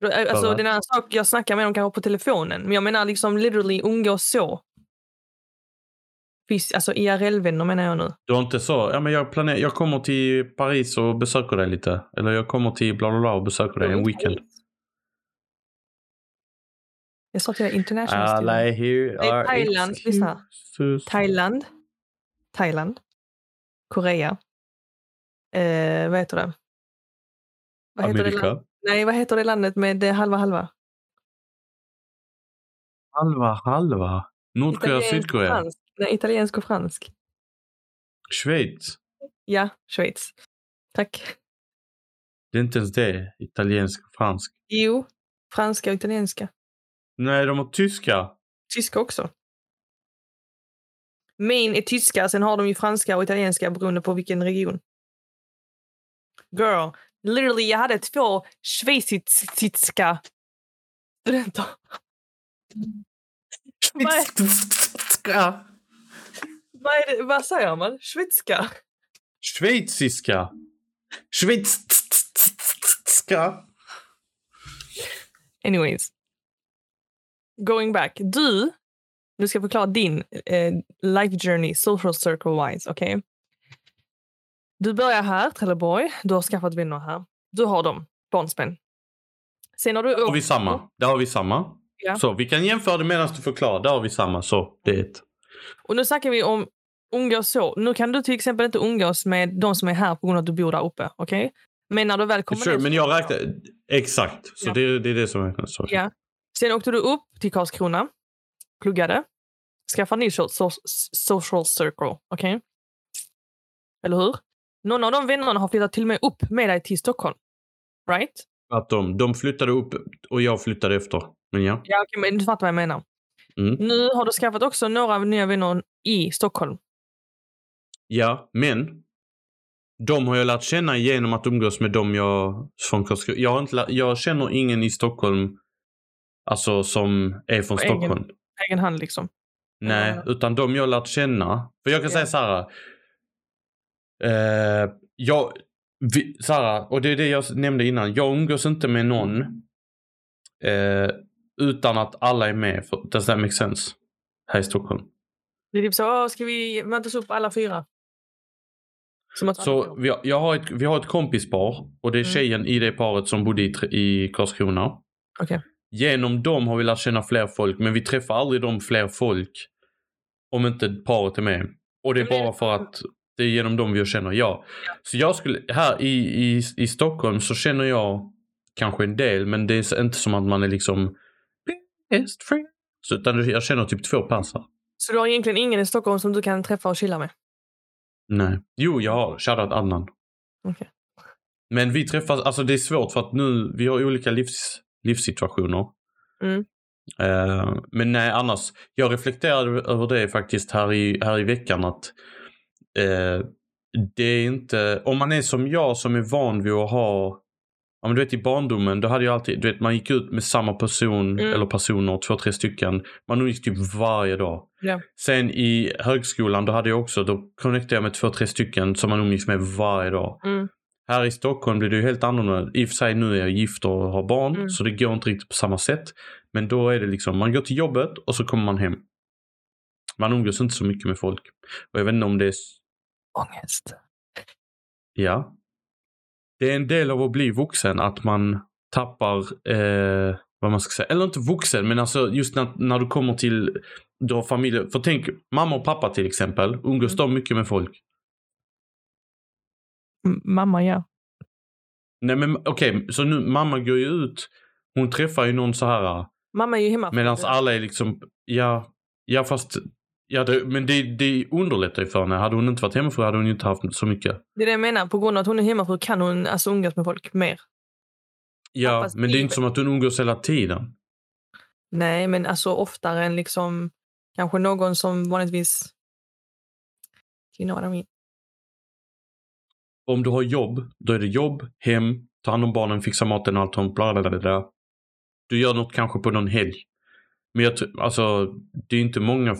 Då, eh, Alltså,
Bara.
det är en annan sak jag snackar med dem kanske på telefonen. Men jag menar liksom literally umgås så. Fys- alltså IRL-vänner menar jag nu.
Du har inte så, ja men jag planerar, jag kommer till Paris och besöker dig lite. Eller jag kommer till bla bla bla och besöker dig en weekend.
Jag sa till dig international student.
Alla är here ah,
Nej, Thailand. Lyssna här.
excuses.
Thailand. Thailand. Korea. Eh, vad heter det? Vad heter det land-
Amerika.
Nej, vad heter det landet med eh, halva halva?
Halva, halva. Nordkorea,
Italiensk och
Sydkorea.
fransk. Nej, italiensk och fransk.
Schweiz.
Ja, Schweiz. Tack.
Det är inte ens det. Italiensk, fransk.
Jo, franska och italienska.
Nej, de har tyska.
Tyska också. Main är tyska, sen har de ju franska och italienska beroende på vilken region. Girl, literally jag hade två schweiziska studenter. Vad är- Vad, är det, vad säger man? Schweizka?
Schweiziska. Schweizska.
Anyways. Going back. Du, nu ska jag förklara din eh, life journey, social circle wise. Okej? Du börjar här, Trelleborg. Du har skaffat vänner här. Du har dem, barnspänn. Sen har du...
Har vi samma? Där har vi samma.
Ja.
Så vi kan jämföra det medan du förklarar. Där har vi samma. Så, det är ett.
Och nu snackar vi om umgås så. Nu kan du till exempel inte umgås med de som är här på grund av att du bor där uppe. Okej? Men när du väl kommer
Sure,
ner-
men jag räknar... Exakt. Så
Ja.
det, det är det som räknas. Sorry.
Ja. Sen åkte du upp till Karlskrona, pluggade, skaffade ny so- so- social circle. Okej? Eller hur? Någon av de vännerna har flyttat till och med upp med dig till Stockholm. Right?
Att de, de flyttade upp och jag flyttade efter. Men ja.
Ja, okej, men du fattar vad jag menar.
Mm.
Nu har du skaffat också några nya vänner i Stockholm.
Ja, men de har jag lärt känna genom att umgås med dem jag från Karlskrona. Jag, har inte lä- jag känner ingen i Stockholm alltså som är från
På egen-
Stockholm.
På egen hand liksom.
Nej,
Ja.
utan de jag lärt känna. För jag kan
Ja.
säga så här. Eh, jag, vi, så här, och det är det jag nämnde innan. Jag umgås inte med någon eh, utan att alla är med. För, does that make sense? Här i Stockholm.
Det är typ så, "Åh, ska vi mötas upp alla fyra? Som att
Så vi har, jag har ett, vi har ett kompispar och det är
Mm.
tjejen i det paret som bodde i, Tre- i Karlskrona.
Okej.
Genom dem har vi lärt känna fler folk men vi träffar aldrig de fler folk om inte paret är med. Och det är
Men är liksom det
bara för att det är genom dem jag känner ja. Så jag skulle, här i, i, i Stockholm så känner jag kanske en del men det är inte som att man är liksom best friends. Utan jag känner typ två passar.
Så du har egentligen ingen i Stockholm som du kan träffa och chilla med?
Nej. Jo, jag har. Shoutout Adnan.
Okej.
Men vi träffas, alltså det är svårt för att nu, vi har olika livs, livssituationer.
Mm.
Eh, men nej, annars. Jag reflekterade över det faktiskt här i, här i veckan att eh, det är inte, om man är som jag som är van vid att ha, ja men du vet i barndomen, då hade jag alltid, du vet man gick ut med samma person
Mm.
eller personer, två, tre stycken. Man umgicks typ varje dag.
Ja.
Sen i högskolan, då hade jag också, då connectade jag med två, tre stycken som man umgicks med varje dag.
Mm.
Här i Stockholm blir det ju helt annorlunda. I och för sig nu är jag gift och har barn
Mm.
så det går inte riktigt på samma sätt. Men då är det liksom, man går till jobbet och så kommer man hem. Man umgås inte så mycket med folk. Och jag vet inte om det är... s-
Ångest.
Ja. Det är en del av att bli vuxen att man tappar, eh, vad man ska säga, eller inte vuxen men alltså just när, när du kommer till, du har familj. För tänk, mamma och pappa till exempel, umgås
Mm.
de mycket med folk?
M- mamma, ja.
Nej men okej, så nu mamma går ju ut. Hon träffar ju någon så här.
Mamma är ju hemma.
Medan alla är liksom, ja, ja fast, ja det, men det, det underlättar ju för henne. Hade hon inte varit hemmafru hade hon ju inte haft så mycket.
Det är det jag menar. På grund av att hon är hemmafru kan hon alltså umgås med folk mer.
Ja,
Ja, fast
men det är
det-
inte som att hon umgås hela tiden.
Nej, men alltså oftare än liksom kanske någon som vanligtvis... You know what I mean.
Om du har jobb, då är det jobb, hem, ta hand om barnen, fixa maten, allt sånt, bla bla bla, bla. Du gör något kanske på någon helg. Men jag tror, alltså, det är inte många f-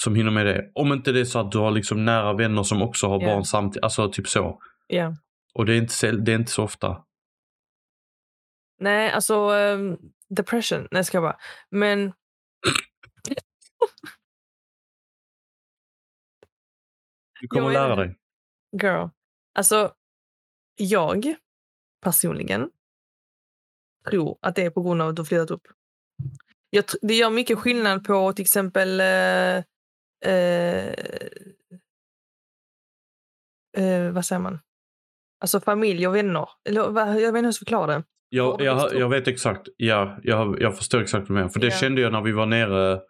som hinner med det. Om inte det är så att du har liksom nära vänner som också har
Ja.
barn samtidigt, alltså typ så.
Ja.
Och det är inte, säll- det är inte så ofta.
Nej, alltså ehm, depression. Nej, ska jag bara. Men...
Du kommer
Ja,
att
jag
lära
vet.
dig.
Girl. Alltså, jag personligen tror att det är på grund av att du har flyttat upp. Jag, tr- det gör mycket skillnad på till exempel... Eh, eh, eh, vad säger man? Alltså familj och vänner. Eller, vad- jag vet inte hur jag ska förklara det.
Jag,
Ja,
jag,
förstår.
jag vet exakt. Ja, jag, jag förstår exakt vad du menar. För det
Ja.
kände jag när vi var nere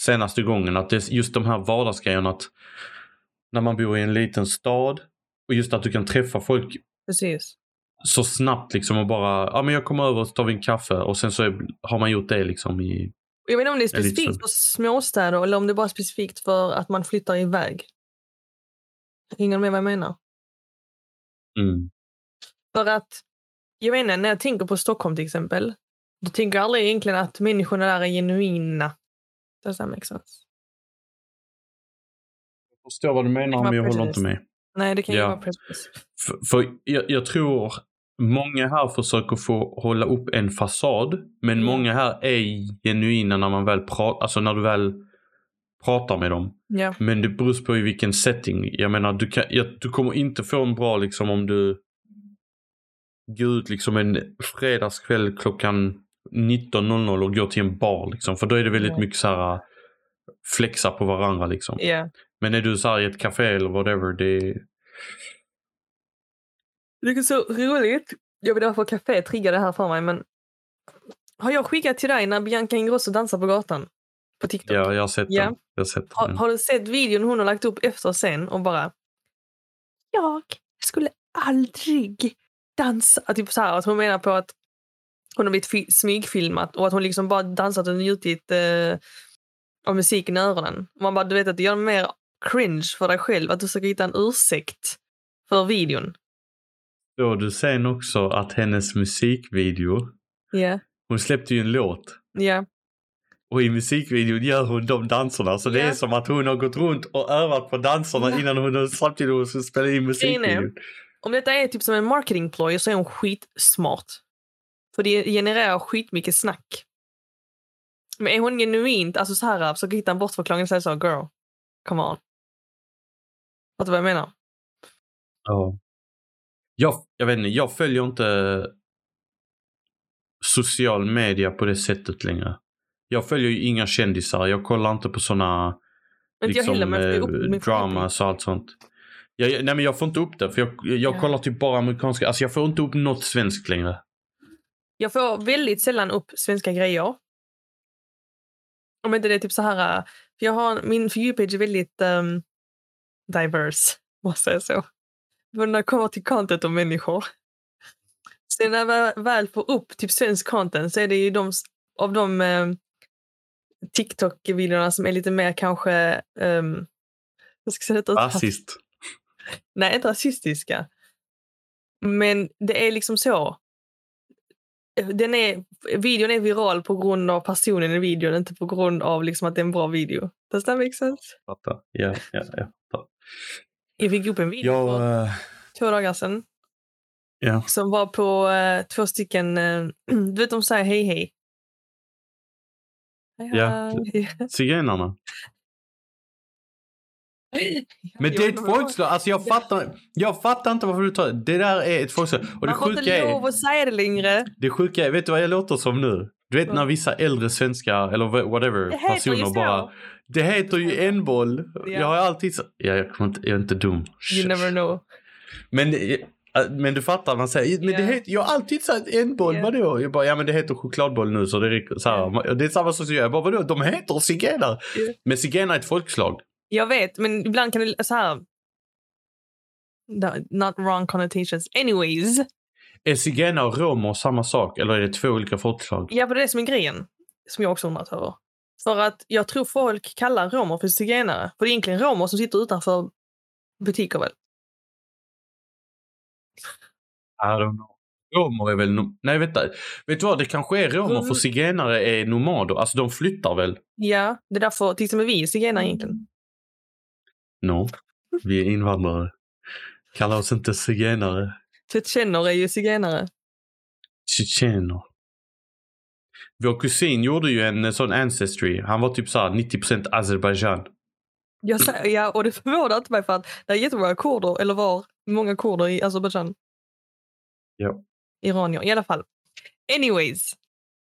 senaste gången. Att det är just de här vardagsgrejerna. Att när man bor i en liten stad. Och just att du kan träffa folk
Precis.
så snabbt liksom och bara, ja men jag kommer över och så tar vi en kaffe och sen så är, har man gjort det liksom i,
Och Jag vet inte om det är
Eller lite
specifikt
så.
för småstäder eller om det är bara specifikt för att man flyttar iväg. Hänger du med vad jag menar?
mm,
För att, jag vet inte, när jag tänker på Stockholm till exempel, då tänker jag aldrig egentligen att människorna där är genuina. Does that make sense?
Jag förstår vad du menar
kan
men
vara
jag håller inte
precis.
med.
Nej, det kan ju
Ja.
vara precis.
För, för jag, jag tror många här försöker få hålla upp en fasad. Men
Ja.
många här är genuina när man väl pratar, alltså när du väl pratar med dem.
Ja,
Men det beror på i vilken setting. Jag menar, du, kan, jag, du kommer inte få en bra liksom om du går ut liksom en fredagskväll klockan 19.00 och går till en bar liksom. För då är det väldigt
Ja.
mycket så här äh, flexa på varandra liksom.
ja.
Men är du så här i ett café eller whatever, det
Det är så roligt. Jag vet inte varför café triggar det här för mig, men har jag skickat till dig när Bianca Ingrosso dansar på gatan? På TikTok?
ja, jag har sett
Ja.
den. Jag har sett
Har,
den.
har du sett videon hon har lagt upp efter sen och bara Jag skulle aldrig dansa. Typ så här, att hon menar på att hon har blivit fi- smygfilmat och att hon liksom bara dansat och njutit eh, av musiken i öronen. Man bara, du vet att det gör mer cringe för dig själv att du försöker hitta en ursäkt för videon.
Såg du sen också att hennes musikvideo,
Ja,
hon släppte ju en låt.
ja.
Och i musikvideon gör hon de danserna. Så det
Ja.
är som att hon har gått runt och övat på danserna
Ja.
innan hon samtidigt hon ska spela in musikvideon.
Om detta är typ som en marketingploy så är hon skitsmart. För det genererar skitmycket snack. Men är hon genuint, alltså så här, försöker hitta en bortförklaring och säga så, girl, come on. Fattar du vad jag menar?
Ja. Jag, jag vet inte, jag följer inte social media på det sättet längre. Jag följer ju inga kändisar. Jag kollar inte på såna
Inte jag
liksom,
heller, men jag får upp
eh,
min
dramas och allt sånt. Jag, jag- nej men jag får inte upp det för jag, jag
Ja.
kollar typ bara amerikanska. Alltså jag får inte upp något svenskt längre.
Jag får väldigt sällan upp svenska grejer. Om inte det är typ så här... äh, För jag har, min For You-page är väldigt um, diverse, [LAUGHS] måste jag säga så. Men när det kommer till content och människor. Sen när jag väl- väl får upp typ svensk content så är det ju de, s- av de um, TikTok-videorna som är lite mer kanske... Um, jag ska jag säga detta utan-
Rasist.
Nej, inte rasistiska. Men det är liksom så. Den är, videon är viral på grund av personen i videon, inte på grund av liksom att det är en bra video. Does that make sense? [LAUGHS]
Fattar. Ja, ja, ja.
Jag fick upp en video
Jag,
för
eh,
två dagar sedan.
Ja.
som var på eh, två stycken... eh, [CLEARS THROAT] du vet, de säger hej hej. Hej,
Ja.
hej.
Zigenarna.
[LAUGHS]
Men det är ett folkslag. Alltså jag fattar, jag fattar inte varför du tar det. där är ett folkslag. Och det
Man får
sjuka
inte lov
är,
att säga det längre.
det sjuka är, vet du vad jag låter som nu? Du vet
Vad?
när vissa äldre svenskar, eller wh-
Det
whatever,
heter ju
personer
så.
bara... Det heter ju enboll.
Ja.
Jag har alltid sagt... Ja, jag, kommer inte, jag är inte dum.
You never know.
Men, det- äh, men du fattar, man säger, men det
Ja.
heter, jag har alltid sagt en boll,
Ja.
vadå? Jag bara, ja men det heter chokladboll nu så det räcker. Så här, det är samma sak som jag, jag bara, vadå, de heter zigenare.
Ja.
Men zigenare är ett folkslag.
Jag vet, men ibland kan det... Så här, No, not wrong connotations. Anyways.
Är zigenare och romer samma sak eller är det två olika folkslag?
Ja, för det är det som är grejen. Som jag också undrat över. För att jag tror folk kallar romer för zigenare. För det är egentligen romer som sitter utanför butiker väl?
I don't know. Romer är väl, no- nej vänta, vet du vad, det kanske är romer
Mm.
för zigenare är nomader, alltså de flyttar väl?
Ja, det är därför till exempel vi är zigenare egentligen.
No, vi är invandrare. Kalla oss inte zigenare.
Tjetjener är ju zigenare.
tjetjener. Vår kusin gjorde ju en eh, sån ancestry. Han var typ såhär 90% Azerbaijan.
Jag säger, ja, och det förvånar inte mig för att det är jättemånga kurder, eller var många kurder i Azerbajdzjan.
Ja.
Iranier, i alla fall. Anyways,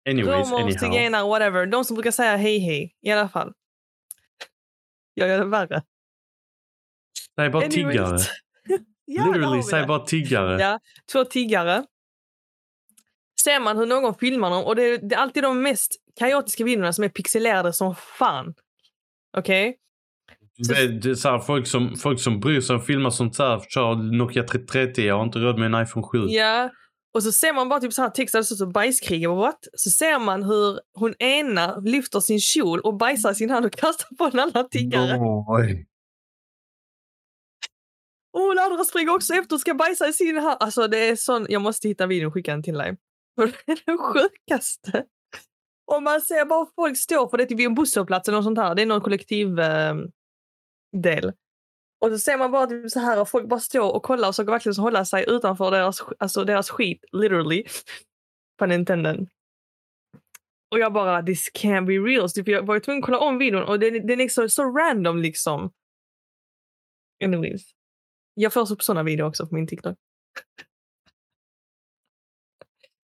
Anyways,
romer,
anyhow.
zigenare, whatever. De som brukar säga hej hej, i alla fall. Jag gör det värre.
Säg bara
Anyways.
tiggare.
[LAUGHS] Ja, där har
Literally,
vi
säg
det.
bara tiggare.
Ja. två tiggare. Ser man hur någon filmar dem och det är, det är alltid de mest kaotiska videorna som är pixelerade som fan. Okej?
Det, det är så här, folk, som, folk som bryr sig om filmer sånt såhär, kör Nokia 330, jag har inte råd med en iPhone 7.
Ja. Och så ser man bara typ så här text, alltså så bajskrig och what? Så ser man hur hon ena lyfter sin kjol och bajsar i sin hand och kastar på en annan tiggare.
Oj.
Och hon andra springer också efter och ska bajsa i sin hand. Alltså det är sån, jag måste hitta videon och skicka den till dig. [LAUGHS] För det är den sjukaste. Och man ser bara folk stå för det är typ vid en busshållplats eller något sånt här. Det är någon kollektiv eh, del. Och så ser man bara typ så här och folk bara står och kollar och försöker verkligen så hålla sig utanför deras, alltså deras skit, literally. [LAUGHS] På Nintendo. Och jag bara, this can't be real. Så typ, jag var ju tvungen att kolla om videon och den, den är så, så random liksom. Anyways. Jag förs upp såna videor också på min TikTok. [LAUGHS]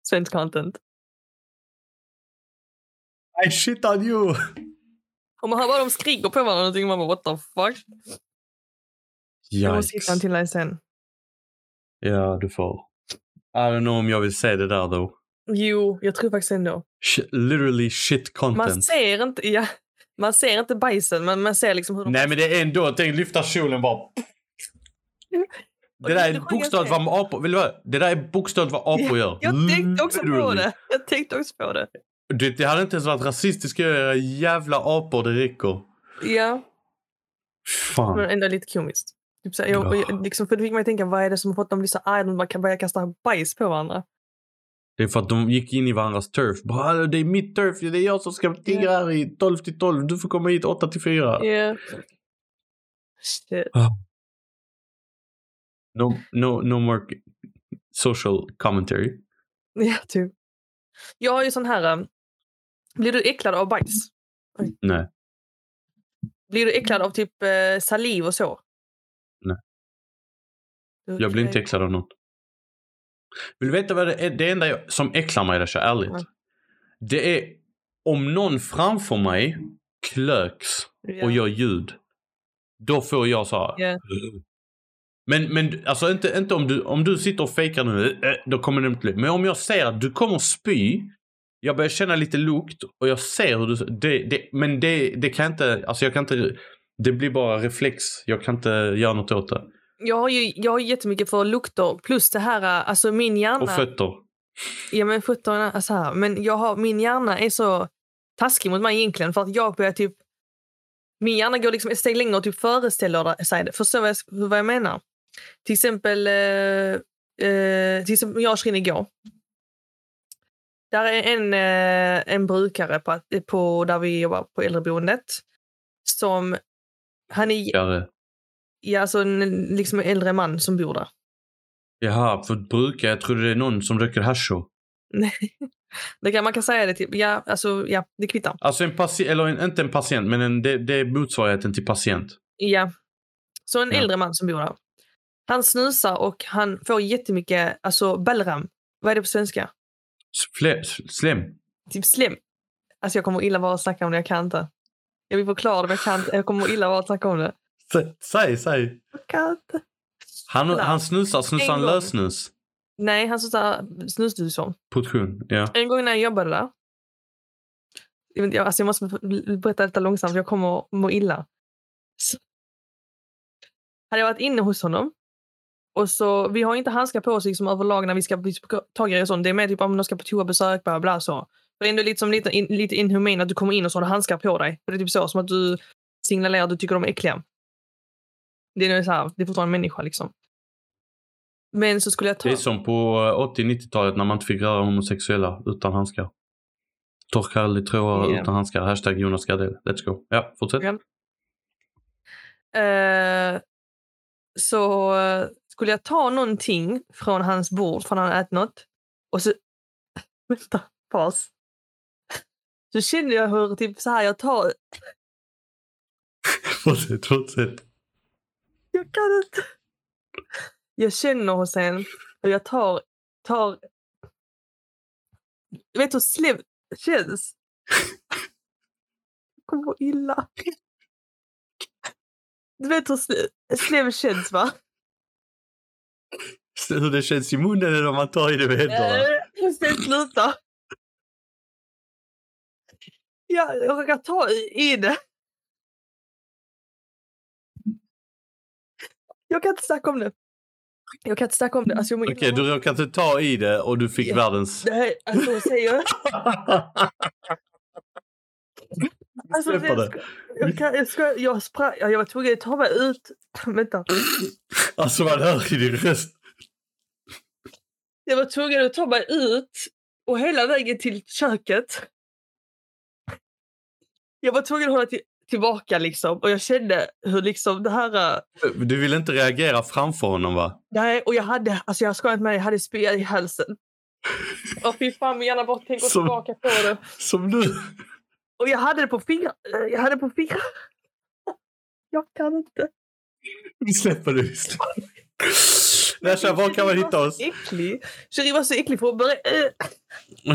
Svensk content.
I shit on you!
Och man hör bara de skriker på varandra och tycker man bara what the fuck. Jag måste hitta en
Yikes.
till dig sen.
Ja, du får. I don't know om jag vill se det där då.
Jo, jag tror faktiskt ändå.
Sh- literally shit content.
Man ser inte, ja, man ser inte bajsen men man ser liksom hur de...
Nej men det är ändå, tänk lyfta kjolen bara. Det där är bokstavligt vad apor, vill du höra? Det där är bokstavligt vad apor gör.
Jag tänkte också på
Literally.
det. Jag tänkte också på det.
Du, det hade inte ens varit rasistiskt att göra era jävla apor, det räcker.
Ja, men
Fan.
ändå lite komiskt. Typ så här, jag, och jag, liksom, för det fick mig att tänka, vad är det som har fått dem att bli så arga? De bara kan börja kasta bajs på varandra.
Det är för att de gick in i varandras turf. Bara, "Hallå, det är mitt turf, det är jag som ska tigga här i 12 till 12, du får komma hit 8 till 4.
Ja. Shit.
No, no, no more social commentary.
[LAUGHS] Ja, typ. Jag har ju sån här... eh, Blir du äcklad av bajs?
Nej.
Blir du äcklad av typ eh, saliv och så?
Nej. Jag blir inte
Okej.
äcklad av något. Vill du veta vad det är? Det enda jag, som äcklar mig, det är ärligt.
Ja.
Det är om någon framför mig klöks
Ja.
och gör ljud. Då får jag så här.
Ja.
Men, men alltså inte, inte om, du, om du sitter och fejkar nu, eh, då kommer det inte bli. Men om jag ser att du kommer spy, jag börjar känna lite lukt och jag ser hur du... Det, det, men det, det kan jag inte, alltså jag kan inte... Det blir bara reflex. Jag kan inte göra något åt det.
Jag har ju jag har ju jättemycket för lukter plus det här, eh, alltså min hjärna.
Och fötter.
Ja men 17, alltså här. Men jag har, min hjärna är så taskig mot mig egentligen för att jag börjar typ... Min hjärna går liksom ett steg längre och typ föreställer sig det. Förstår vad jag, vad jag menar? Till exempel, eh, eh, till exempel jag och Shirin igår. Där är en, eh, en brukare på, att- på, där vi jobbar på äldreboendet. Som, han är
Gör det.
ja, alltså en, liksom en äldre man som bor där.
Jaha, för brukar? Jag trodde det är någon som röker hasho.
Det kan, man kan säga det till... Ja, alltså, ja det kvittar.
Alltså en patient, eller en, inte en patient, men en, det, det är motsvarigheten till patient.
Ja. Så en
Ja.
äldre man som bor där. Han snusar och han får jättemycket alltså, ballram. Vad är det på svenska?
Fle, slem.
Typ slem. Alltså jag kommer illa vara att snacka om det, jag kan inte. Jag vill förklara det, men jag kan inte. Jag kommer illa vara att snacka om det.
Sä- Säg, säg.
Jag kan inte.
Han,
Kolla.
han snusar, snusar
En
han
gång.
lösnus?
Nej, han snusar snusdosor.
Portion, ja.
En gång när jag jobbade där. Jag, vet inte, jag- alltså jag måste berätta detta långsamt för jag kommer att må illa. Så, hade jag varit inne hos honom. Och så, vi har inte handskar på oss liksom överlag när vi ska bli tagare och sånt. Det är mer typ om de ska på toabesök, bla bla så. Det är ändå lite, som lite, in, lite inhuman att du kommer in och så har du handskar på dig. För det är typ så, som att du signalerar att du tycker de är äckliga. Det är, nog så här, det är fortfarande en människa liksom. Men så skulle jag ta...
Det är som på eh, 80-90-talet när man inte fick röra homosexuella utan handskar. Torka aldrig trådar
Ja.
utan handskar. Hashtag Jonas Gardell. Let's go. Ja, fortsätt.
Ja. Eh, så eh, skulle jag ta någonting från hans bord, från han hade ätit något. Och så... [LAUGHS] Vänta, paus. Så kände jag hur typ så här jag tar...
fortsätt, fortsätt.
Jag kan inte. Jag känner hos sen hur jag tar... tar... Jag vet hur slev känns. Jag kommer må illa. Du vet hur slev, slev känns va?
Hur det känns i munnen eller om man tar i det med händerna.
Måste Eh, sluta. Ja, jag råkar ta i, i det. Jag kan inte snacka om det. Jag kan inte snacka om det. Alltså, jag mår illa.
Okej, du råkade inte ta i det och du fick
Ja. [LAUGHS]
världens...
Det här, alltså, hon
[LAUGHS]
säger... Alltså,
släpper
jag,
det.
ska, jag, kan, jag, ska, jag, sprang, ja, jag var tvungen att ta mig ut. Vänta.
alltså man hör i din röst.
Jag var tvungen att ta mig ut och hela vägen till köket. Jag var tvungen att hålla till, tillbaka liksom och jag kände hur liksom det här... äh,
Du vill inte reagera framför honom va?
Nej, och jag hade, alltså jag skojar inte med dig, jag hade spya i halsen. Och fy fan min hjärna bara tänker
Som-
tillbaka på det.
Som du.
Och jag hade det på fingrar. äh, Jag hade det på fingrar. Jag kan inte.
Vi släpper det. vi släpper det. Nasha, var kan man
Shirin
hitta
var
oss?
så äcklig. Shirin var så äcklig för att börja... äh,
[LAUGHS]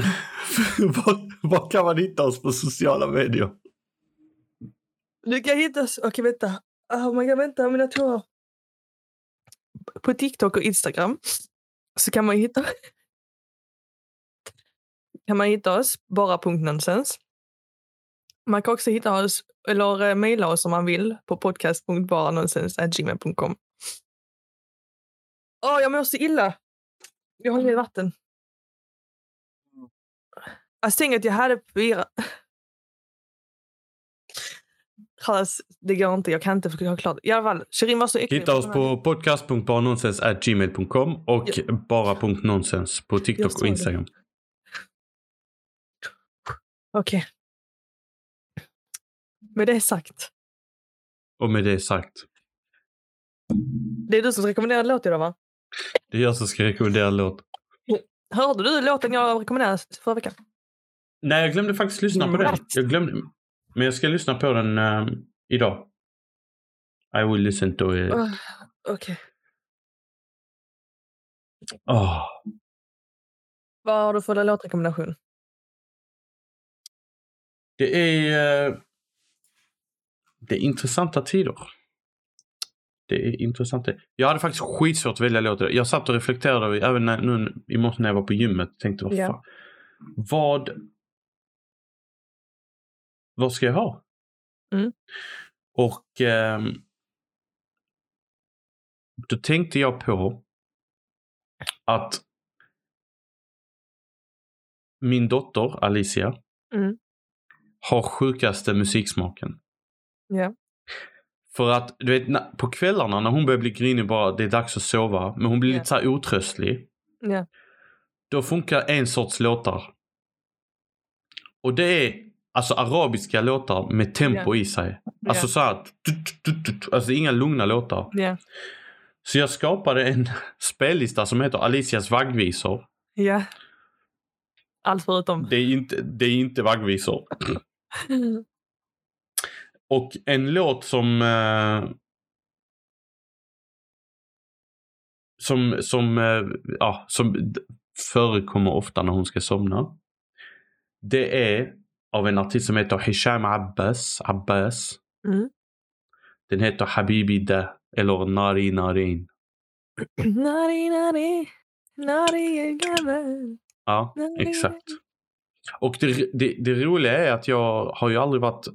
var, var kan man hitta oss på sociala medier?
Du kan hitta oss... Okej, vänta. Oh my God, vänta, mina tår. På TikTok och Instagram så kan man hitta... kan man hitta oss, bara.nonsens. Man kan också hitta oss, eller eh, mejla oss om man vill, på podcast.baranonsens.gmail.com. Åh, jag mår så illa! Jag håller i vatten. Jag tänker att jag hade fyra... Kallas, Alltså, det går inte. Jag kan inte förklara klart. I alla fall, Shirin var så äcklig.
Hitta oss på podcast.baranonsens.gmail.com och bara.nonsens på
Jag
TikTok
sa
och
det.
Instagram.
Okej. Med det sagt.
Och med det sagt,
Det är du som rekommenderar låt idag va?
det är jag som ska rekommendera en låt.
Hörde du låten jag rekommenderade förra veckan?
Nej, jag glömde faktiskt lyssna på den.
What?
Jag glömde, men jag ska lyssna på den ehm, idag. I will listen to it.
Ah, Okej.
Åh.
Vad har du för låtrekommendation?
Det är... eh, Det är intressanta tider. Det är intressant. det. Jag hade faktiskt skitsvårt att välja låt. Jag satt och reflekterade över, även när, nu i morse när jag var på gymmet. Tänkte vad
Ja.
fan. Vad... Vad ska jag ha?
Mm.
Och... ehm, då tänkte jag på att min dotter Alicia
Mm.
har sjukaste musiksmaken.
Ja.
För att du vet, na- på kvällarna när hon börjar bli grinig bara det är dags att sova, men hon blir
Ja.
lite så här otröstlig.
Ja.
Då funkar en sorts låtar. Och det är alltså arabiska låtar med tempo i sig. Alltså så här, tut, tut, tut, tut. alltså det är inga lugna låtar.
Ja.
Så jag skapade en [LAUGHS] spellista som heter Alicias vaggvisor.
Ja. Allt förutom.
Det är inte, det är inte vaggvisor. Och en låt som... Eh, som, som, eh, ja, som d- förekommer ofta när hon ska somna. Det är av en artist som heter Hisham Abbas. Abbas.
Mm.
Den heter Habibi Da eller Nari Narin.
[LAUGHS] Nari, nari. Nari, gavel.
Ja,
Nari.
exakt. Och det, det, det roliga är att jag har ju aldrig varit...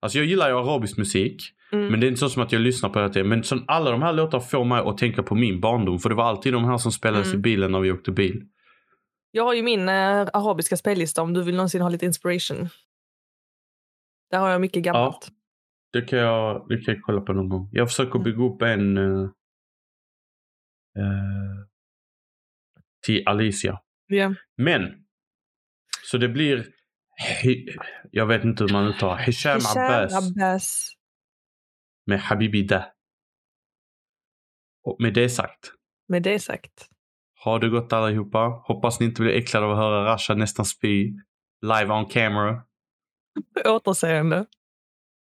Alltså jag gillar ju arabisk musik.
Mm.
Men det är inte så som att jag lyssnar på det. Men så, alla de här låtarna får mig att tänka på min barndom. För det var alltid de här som spelades
Mm.
i bilen när vi åkte bil.
Jag har ju min eh, arabiska spellista om du vill någonsin ha lite inspiration. Där har jag mycket gammalt.
Det kan jag, det kan jag kolla på någon gång. Jag
Mm.
försöker bygga upp en eh, eh, till Alicia.
Ja.
Men, så det blir Hi- jag vet inte hur man uttalar Hisham
Hisham
Abbas
Abbas.
med Habibi Da. Och med det sagt,
Med det sagt.
ha det gott allihopa. Hoppas ni inte blir äcklade av att höra Rasha nästan spy live on camera.
På återseende.